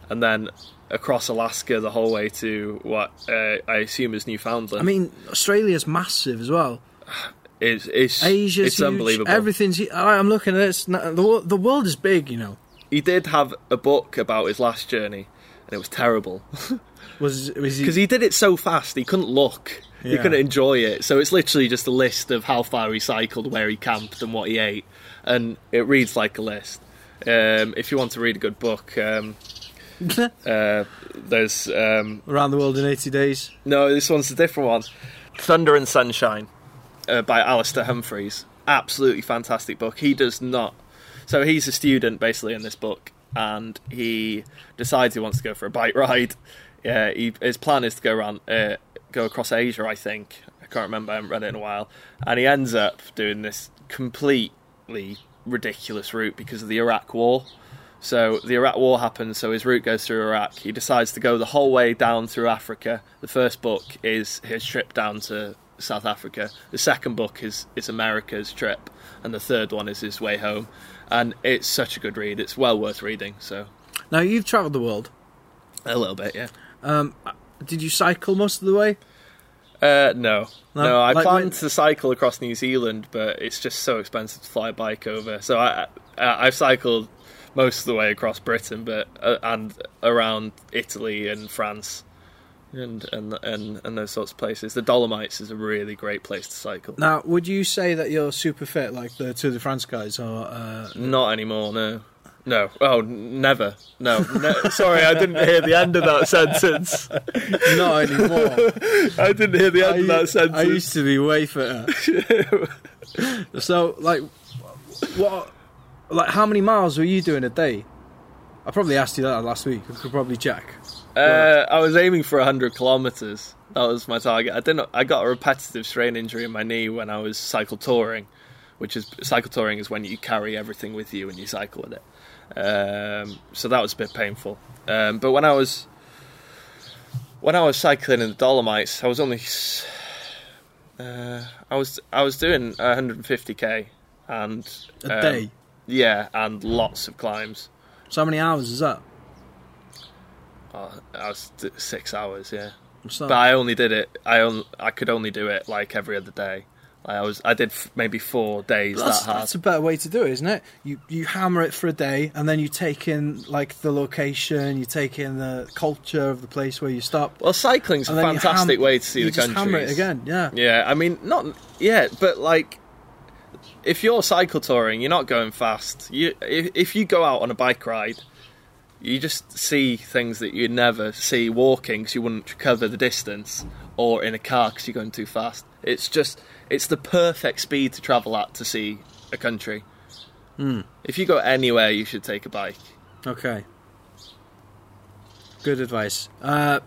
Speaker 2: and then across Alaska the whole way to what uh, I assume is Newfoundland.
Speaker 1: I mean, Australia's massive as well.
Speaker 2: it's it's,
Speaker 1: Asia's
Speaker 2: it's
Speaker 1: huge.
Speaker 2: unbelievable.
Speaker 1: Everything's. hu- I- I'm looking at this. n- The wo- the world is big, you know.
Speaker 2: He did have a book about his last journey, and it was terrible.
Speaker 1: Was was
Speaker 2: because
Speaker 1: he?
Speaker 2: he did it so fast he couldn't look he
Speaker 1: Yeah.
Speaker 2: couldn't enjoy it so it's literally just a list of how far he cycled where he camped and what he ate and it reads like a list um, if you want to read a good book um, uh, there's um,
Speaker 1: Around the world in 80 days.
Speaker 2: no, this one's a different one. Thunder and Sunshine uh, by Alistair Humphreys. Absolutely fantastic book. He does not. So he's a student basically in this book, and he decides he wants to go for a bike ride. Yeah, he, his plan is to go around, uh, go across Asia, I think. I can't remember. I haven't read it in a while, and he ends up doing this completely ridiculous route because of the Iraq War. So the Iraq War happens, so his route goes through Iraq. He decides to go the whole way down through Africa. The first book is his trip down to South Africa. The second book is, is America's trip. And the third one is his way home. And it's such a good read. It's well worth reading. So,
Speaker 1: Now you've travelled the world.
Speaker 2: a little bit, yeah.
Speaker 1: Um, did you cycle most of the way?
Speaker 2: Uh, no. No,
Speaker 1: No,
Speaker 2: I
Speaker 1: like
Speaker 2: planned
Speaker 1: when-
Speaker 2: to cycle across New Zealand, but it's just so expensive to fly a bike over. So I, I, I've cycled most of the way across Britain, but uh, and around Italy and France, and and and and those sorts of places. The Dolomites is a really great place to cycle.
Speaker 1: Now, would you say that you're super fit, like the Tour de France guys, or uh,
Speaker 2: Not anymore, no. No. Oh, n- never. No. Ne- Sorry, I didn't hear the end of that sentence.
Speaker 1: not anymore?
Speaker 2: I didn't hear the end of that
Speaker 1: I
Speaker 2: sentence.
Speaker 1: used to be way fitter. so, like, what? Like, how many miles were you doing a day? I probably asked you that last week. I could probably check.
Speaker 2: Uh, I was aiming for 100 kilometers. That was my target. I didn't. I got a repetitive strain injury in my knee when I was cycle touring, which is cycle touring is when you carry everything with you and you cycle with it. Um, so that was a bit painful. Um, but when I was when I was cycling in the Dolomites, I was only s- uh, I was I was doing 150k and
Speaker 1: A
Speaker 2: um,
Speaker 1: day.
Speaker 2: Yeah, and lots of climbs.
Speaker 1: So, how many hours is that?
Speaker 2: Oh, I was d- six hours. Yeah.
Speaker 1: What's that?
Speaker 2: But I only did it. I on, I could only do it like every other day. Like I was. I did f- maybe four days
Speaker 1: that's,
Speaker 2: that hard.
Speaker 1: that's a better way to do it, isn't it? You you hammer it for a day, and then you take in like the location, you take in the culture of the place where you stop,
Speaker 2: well, cycling's a
Speaker 1: and then you
Speaker 2: fantastic
Speaker 1: ham-
Speaker 2: way to see
Speaker 1: you
Speaker 2: the
Speaker 1: just
Speaker 2: country.
Speaker 1: hammer it again. Yeah,
Speaker 2: Yeah, I mean, not yeah, but like, if you're cycle touring, you're not going fast. You if, if you go out on a bike ride, you just see things that you never see walking because you wouldn't cover the distance, or in a car because you're going too fast. It's just it's the perfect speed to travel at to see a country. If you go anywhere, you should take a bike.
Speaker 1: Okay. Good advice. Uh,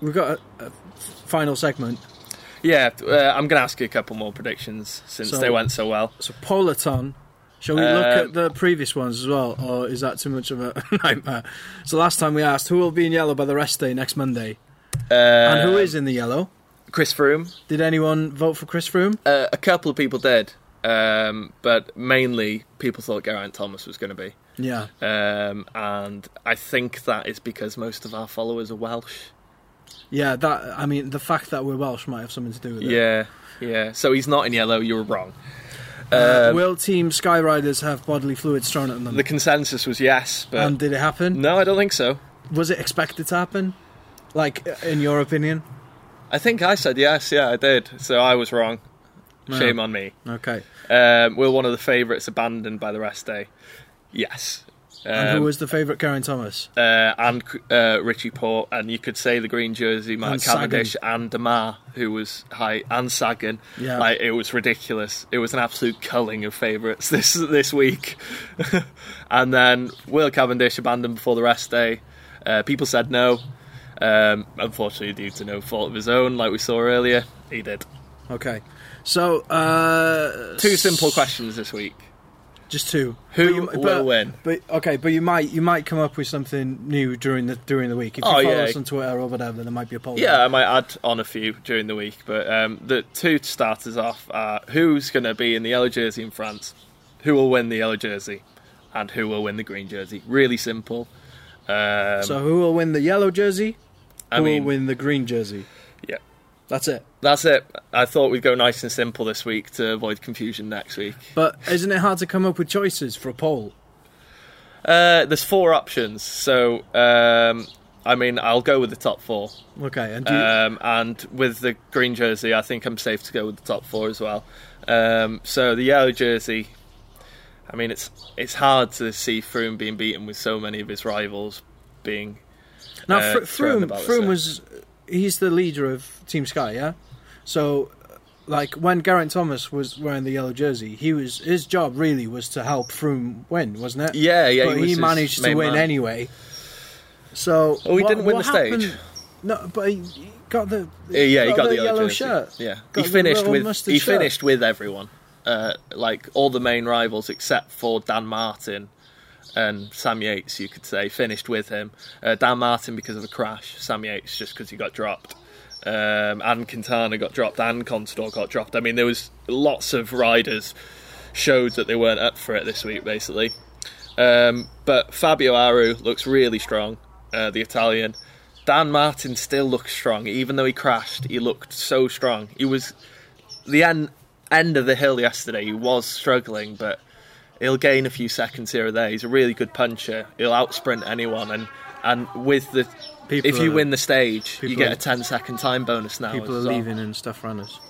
Speaker 1: we've got a, a final segment.
Speaker 2: Yeah, uh, I'm gonna ask you a couple more predictions since
Speaker 1: So-
Speaker 2: they went so well.
Speaker 1: So Polaton. Shall we look
Speaker 2: Um,
Speaker 1: at the previous ones as well, or is that too much of a nightmare? So last time we asked who will be in yellow by the rest day next Monday,
Speaker 2: Uh,
Speaker 1: and who is in the yellow?
Speaker 2: Chris Froome?
Speaker 1: Did anyone vote for Chris Froome?
Speaker 2: Uh, a couple of people did, um, but mainly people thought Geraint Thomas was going to be.
Speaker 1: Yeah.
Speaker 2: Um, and I think that is because most of our followers are Welsh.
Speaker 1: Yeah, that I mean the fact that we're Welsh might have something to do with it.
Speaker 2: Yeah, yeah. So he's not in yellow, you were wrong.
Speaker 1: Uh,
Speaker 2: Um,
Speaker 1: will team Skyriders have bodily fluids thrown at them?
Speaker 2: the consensus was yes, but
Speaker 1: and did it happen?
Speaker 2: no, I don't think so.
Speaker 1: Was it expected to happen? Like in your opinion?
Speaker 2: I think I said yes, yeah, I did. So I was wrong.
Speaker 1: No.
Speaker 2: Shame on me.
Speaker 1: Okay.
Speaker 2: Um, we're one of the favourites abandoned by the rest day. Yes.
Speaker 1: And
Speaker 2: Um,
Speaker 1: who was the favourite Karen Thomas?
Speaker 2: uh, and uh, Richie Port, and you could say the green jersey, Mark
Speaker 1: And Sagan.
Speaker 2: Cavendish, and Demar, who was high, and Sagan.
Speaker 1: Yeah.
Speaker 2: Like, it was ridiculous. It was an absolute culling of favourites this this week. and then Will Cavendish abandoned before the rest day. Uh, people said no. Um, unfortunately, due to no fault of his own, like we saw earlier, he did.
Speaker 1: Okay. So uh
Speaker 2: Two simple questions this week.
Speaker 1: Just two.
Speaker 2: Who
Speaker 1: But you-
Speaker 2: will
Speaker 1: but-
Speaker 2: win?
Speaker 1: But okay, but you might you might come up with something new during the during the week. If you
Speaker 2: Oh,
Speaker 1: follow
Speaker 2: yeah.
Speaker 1: us on Twitter or whatever, there might be a poll.
Speaker 2: Yeah, I might add on a few during the week, but um, the two starters off are who's going to be in the yellow jersey in France, who will win the yellow jersey, and who will win the green jersey. Really simple. Um,
Speaker 1: So who will win the yellow jersey?
Speaker 2: I
Speaker 1: who
Speaker 2: mean,
Speaker 1: will win the green jersey?
Speaker 2: yeah,
Speaker 1: That's it.
Speaker 2: that's it. I thought we'd go nice and simple this week to avoid confusion next week.
Speaker 1: But isn't it hard to come up with choices for a poll?
Speaker 2: Uh, there's four options, so um, I mean, I'll go with the top four.
Speaker 1: Okay, and do you,
Speaker 2: Um, and with the green jersey, I think I'm safe to go with the top four as well. Um, so the yellow jersey, I mean, it's it's hard to see Froome being beaten with so many of his rivals being.
Speaker 1: now
Speaker 2: uh,
Speaker 1: Fr-
Speaker 2: thrown
Speaker 1: Froome
Speaker 2: about,
Speaker 1: Froome
Speaker 2: so-
Speaker 1: was he's the leader of Team Sky, yeah. So like when Geraint Thomas was wearing the yellow jersey, he was his job really was to help Froome win, wasn't it?
Speaker 2: Yeah, yeah.
Speaker 1: but
Speaker 2: was
Speaker 1: he,
Speaker 2: his
Speaker 1: managed to
Speaker 2: main
Speaker 1: win
Speaker 2: man.
Speaker 1: anyway. So
Speaker 2: Oh, he
Speaker 1: what-
Speaker 2: didn't win
Speaker 1: what
Speaker 2: the stage.
Speaker 1: happened- No, but he he got the
Speaker 2: Uh, yeah, he got the, yellow
Speaker 1: yellow
Speaker 2: jersey.
Speaker 1: shirt.
Speaker 2: Yeah,
Speaker 1: Got
Speaker 2: he
Speaker 1: the
Speaker 2: finished
Speaker 1: little
Speaker 2: with
Speaker 1: mustard
Speaker 2: he
Speaker 1: shirt.
Speaker 2: finished with everyone, uh, like all the main rivals except for Dan Martin and Sam Yates. You could say finished with him. Uh, Dan Martin because of a crash. Sam Yates just because he got dropped. Um, and Quintana got dropped, and Contador got dropped. I mean, there was lots of riders showed that they weren't up for it this week, basically. Um, but Fabio Aru looks really strong, uh, the Italian. Dan Martin still looks strong, even though he crashed. He looked so strong. He was the end end of the hill yesterday. He was struggling, but he'll gain a few seconds here or there. He's a really good puncher. He'll outsprint anyone, and and with the
Speaker 1: People
Speaker 2: if you
Speaker 1: are-
Speaker 2: win the stage, you
Speaker 1: people
Speaker 2: get
Speaker 1: are-
Speaker 2: a 10 second time bonus now.
Speaker 1: People are
Speaker 2: as well.
Speaker 1: leaving and stuff around us,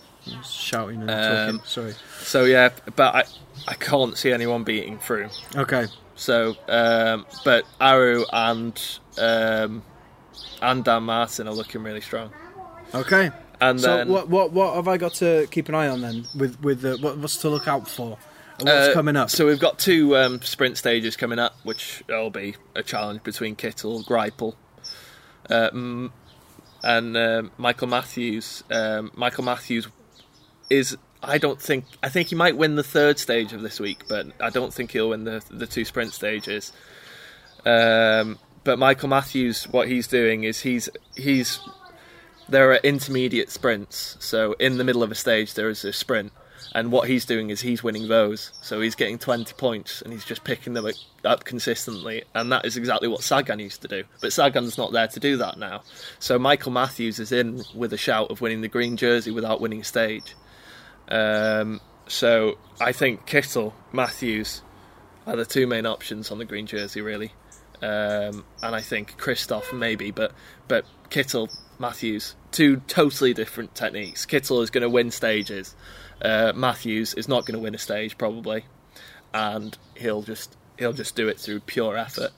Speaker 1: shouting and
Speaker 2: Um,
Speaker 1: talking. Sorry.
Speaker 2: So yeah, but I I can't see anyone beating through.
Speaker 1: Okay.
Speaker 2: So, um, but Aru and um, and Dan Martin are looking really strong.
Speaker 1: Okay.
Speaker 2: And
Speaker 1: so
Speaker 2: then
Speaker 1: what what what have I got to keep an eye on then? With with the, what, what's to look out for? And
Speaker 2: uh,
Speaker 1: What's coming up?
Speaker 2: So we've got two um, sprint stages coming up, which will be a challenge between Kittel, Greipel, um, and um Michael Matthews. Um, Michael Matthews is. I don't think. I think he might win the third stage of this week, but I don't think he'll win the the two sprint stages. Um, but Michael Matthews, what he's doing is he's he's there are intermediate sprints. So in the middle of a stage, there is a sprint, and what he's doing is he's winning those. So he's getting 20 points, and he's just picking them up consistently, and that is exactly what Sagan used to do. But Sagan's not there to do that now. So Michael Matthews is in with a shout of winning the green jersey without winning a stage. Um, so I think Kittle, Matthews are the two main options on the green jersey, really. Um, and I think Christoph maybe, but but Kittle, Matthews, two totally different techniques. Kittle is going to win stages. Uh, Matthews is not going to win a stage probably, and he'll just he'll just do it through pure effort.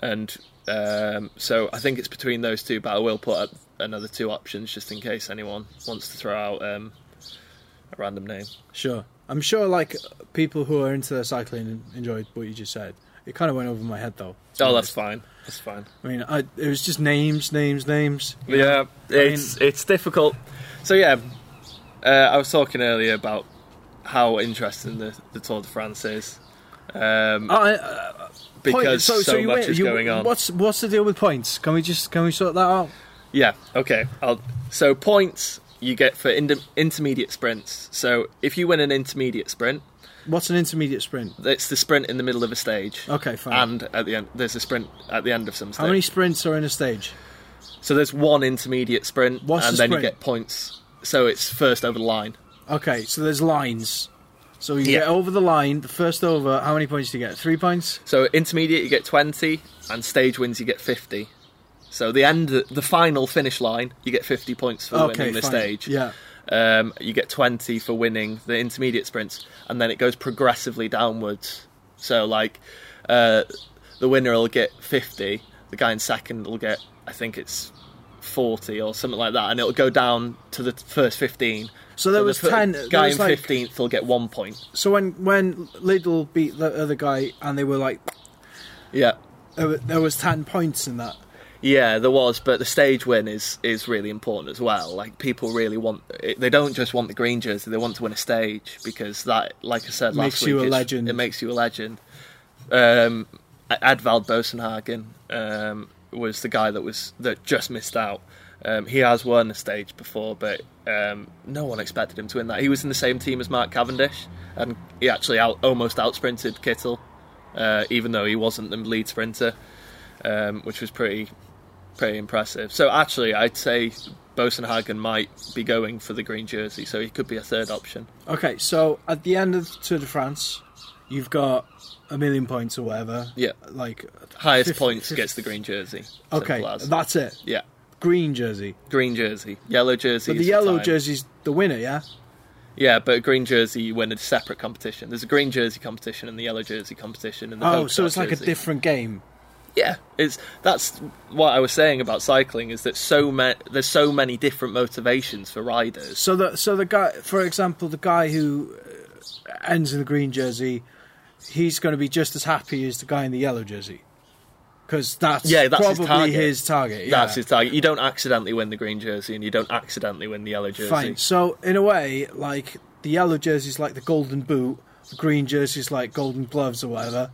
Speaker 2: And um, so I think it's between those two, but I will put up another two options just in case anyone wants to throw out um, a random name.
Speaker 1: Sure. I'm sure like people who are into their cycling enjoyed what you just said. It kind of went over my head though. to be
Speaker 2: Oh, that's
Speaker 1: honest.
Speaker 2: fine. That's fine.
Speaker 1: I mean, I, it was just names, names, names.
Speaker 2: Yeah, it's it's difficult. So yeah, uh, I was talking earlier about how interesting the, the Tour de France is um,
Speaker 1: Oh, I, uh, point-
Speaker 2: because so,
Speaker 1: you
Speaker 2: much
Speaker 1: win-
Speaker 2: is
Speaker 1: you-
Speaker 2: going on.
Speaker 1: What's what's the deal with points? Can we just can we sort that out?
Speaker 2: Yeah. Okay. I'll, so points you get for ind- intermediate sprints. So if you win an intermediate sprint,
Speaker 1: What's an intermediate sprint?
Speaker 2: it's the sprint in the middle of a stage.
Speaker 1: Okay, fine.
Speaker 2: And at the end, there's a sprint at the end of some stage.
Speaker 1: How many sprints are in a stage?
Speaker 2: So there's one intermediate sprint,
Speaker 1: What's
Speaker 2: and
Speaker 1: the
Speaker 2: then you
Speaker 1: sprint?
Speaker 2: get points. So it's first over the line.
Speaker 1: Okay, so there's lines. So you
Speaker 2: Yeah.
Speaker 1: get over the line, the first over. How many points do you get? Three points.
Speaker 2: So intermediate you get 20 and stage wins you get 50. So the end the final finish line you get 50 points for
Speaker 1: okay,
Speaker 2: winning the
Speaker 1: fine.
Speaker 2: stage.
Speaker 1: Yeah.
Speaker 2: Um, you get 20 for winning the intermediate sprints and then it goes progressively downwards. So like uh, the winner will get 50, the guy in second will get I think it's 40 or something like that and it'll go down to the first 15.
Speaker 1: So there
Speaker 2: the
Speaker 1: was
Speaker 2: fir-
Speaker 1: 10 there
Speaker 2: guy
Speaker 1: was
Speaker 2: in
Speaker 1: like-
Speaker 2: 15th will get 1 point.
Speaker 1: So when when Lidl beat the other guy and they were like,
Speaker 2: Yeah.
Speaker 1: there wa- there was ten points in that.
Speaker 2: Yeah, there was, but the stage win is is really important as well. Like people really want, it, they don't just want the green jersey; they want to win a stage because that, like I said
Speaker 1: Makes
Speaker 2: last
Speaker 1: you
Speaker 2: week,
Speaker 1: a
Speaker 2: it's-
Speaker 1: legend.
Speaker 2: It makes you a legend. Um, Advald Bosenhagen um, was the guy that was that just missed out. Um, he has won a stage before, but um, no one expected him to win that. He was in the same team as Mark Cavendish, and he actually out, almost outsprinted Kittel, uh, even though he wasn't the lead sprinter, um, which was pretty pretty impressive. So actually, I'd say Bosenhagen might be going for the green jersey, so he could be a third option.
Speaker 1: Okay, so at the end of Tour de France, you've got a million points or whatever.
Speaker 2: Yeah.
Speaker 1: Like,
Speaker 2: Highest
Speaker 1: Fifth-
Speaker 2: points
Speaker 1: fifth-
Speaker 2: gets the green jersey.
Speaker 1: okay,
Speaker 2: Simple as.
Speaker 1: that's it.
Speaker 2: yeah.
Speaker 1: Green jersey.
Speaker 2: Green jersey, yellow jersey.
Speaker 1: But
Speaker 2: is
Speaker 1: the yellow
Speaker 2: time.
Speaker 1: jersey's the winner, yeah?
Speaker 2: Yeah, but a green jersey you win a separate competition. There's a green jersey competition and the yellow jersey competition and the
Speaker 1: Oh,
Speaker 2: polka
Speaker 1: so
Speaker 2: dot
Speaker 1: it's like
Speaker 2: jersey.
Speaker 1: a different game.
Speaker 2: Yeah, it's that's what I was saying about cycling is that so ma- there's so many different motivations for riders.
Speaker 1: So the so the guy, for example, the guy who uh, ends in the green jersey, he's going to be just as happy as the guy in the yellow jersey, because that's
Speaker 2: Yeah, that's his
Speaker 1: probably
Speaker 2: target.
Speaker 1: his target. Yeah.
Speaker 2: That's his target. You don't accidentally win the green jersey and you don't accidentally win the yellow jersey.
Speaker 1: Fine. So in a way, like the yellow jersey's like the golden boot, the green jersey's like golden gloves or whatever.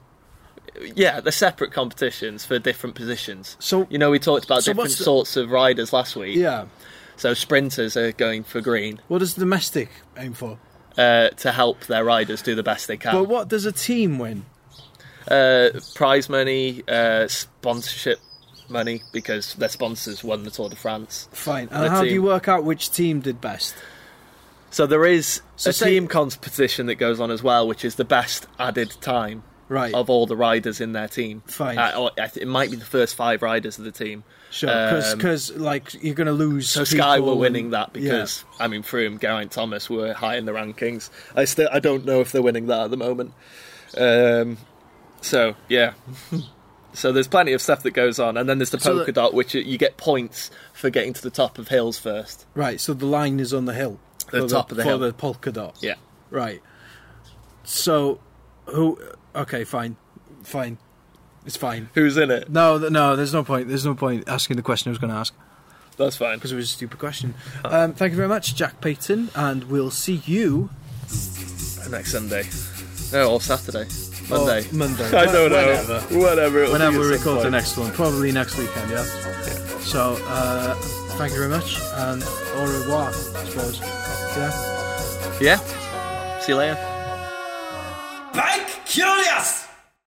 Speaker 2: Yeah, they're separate competitions for different positions.
Speaker 1: So-
Speaker 2: you know we talked about
Speaker 1: so
Speaker 2: different
Speaker 1: what's the-
Speaker 2: sorts of riders last week.
Speaker 1: Yeah.
Speaker 2: So sprinters are going for green
Speaker 1: What does the domestic aim for?
Speaker 2: uh, to help their riders do the best they
Speaker 1: But
Speaker 2: can.
Speaker 1: what does a team win?
Speaker 2: uh, prize money, uh, sponsorship money because their sponsors won the Tour de France.
Speaker 1: Fine.
Speaker 2: The
Speaker 1: And how do
Speaker 2: team.
Speaker 1: you work out which team did best?
Speaker 2: So there is
Speaker 1: So
Speaker 2: a
Speaker 1: say-
Speaker 2: team competition that goes on as well, which is the best added time
Speaker 1: Right.
Speaker 2: of all the riders in their team.
Speaker 1: Fine.
Speaker 2: Uh, or I th- it might be the first five riders of the team.
Speaker 1: Sure.
Speaker 2: Um,
Speaker 1: Because like you're going to lose.
Speaker 2: So Sky
Speaker 1: people
Speaker 2: were
Speaker 1: and-
Speaker 2: winning that
Speaker 1: Yeah.
Speaker 2: because I mean Froome, Geraint Thomas were high in the rankings. I still I don't know if they're winning that at the moment. Um, so yeah, so there's plenty of stuff that goes on, and then there's the
Speaker 1: So
Speaker 2: polka
Speaker 1: the-
Speaker 2: dot, which you get points for getting to the top of hills first.
Speaker 1: Right, so the line is on the hill.
Speaker 2: The
Speaker 1: For
Speaker 2: top of the
Speaker 1: for
Speaker 2: hill.
Speaker 1: the polka dot.
Speaker 2: Yeah,
Speaker 1: Right. So, who? Okay, fine, fine, it's fine.
Speaker 2: who's in it?
Speaker 1: No, th- no, there's no point. There's no point asking the question I was going to ask
Speaker 2: That's fine.
Speaker 1: because it was a stupid question.
Speaker 2: Oh.
Speaker 1: Um, thank you very much, Jack Payton, and we'll see you
Speaker 2: Next Sunday, no, or Saturday,
Speaker 1: on
Speaker 2: Monday.
Speaker 1: Monday.
Speaker 2: I don't know.
Speaker 1: Whenever,
Speaker 2: Whatever. it'll
Speaker 1: whenever
Speaker 2: be at
Speaker 1: we
Speaker 2: some
Speaker 1: record the
Speaker 2: point.
Speaker 1: next one, probably next weekend. Yeah. So, uh, thank you very much, and au revoir. I suppose. Yeah.
Speaker 2: Yeah. See you later.
Speaker 3: Bike Curious!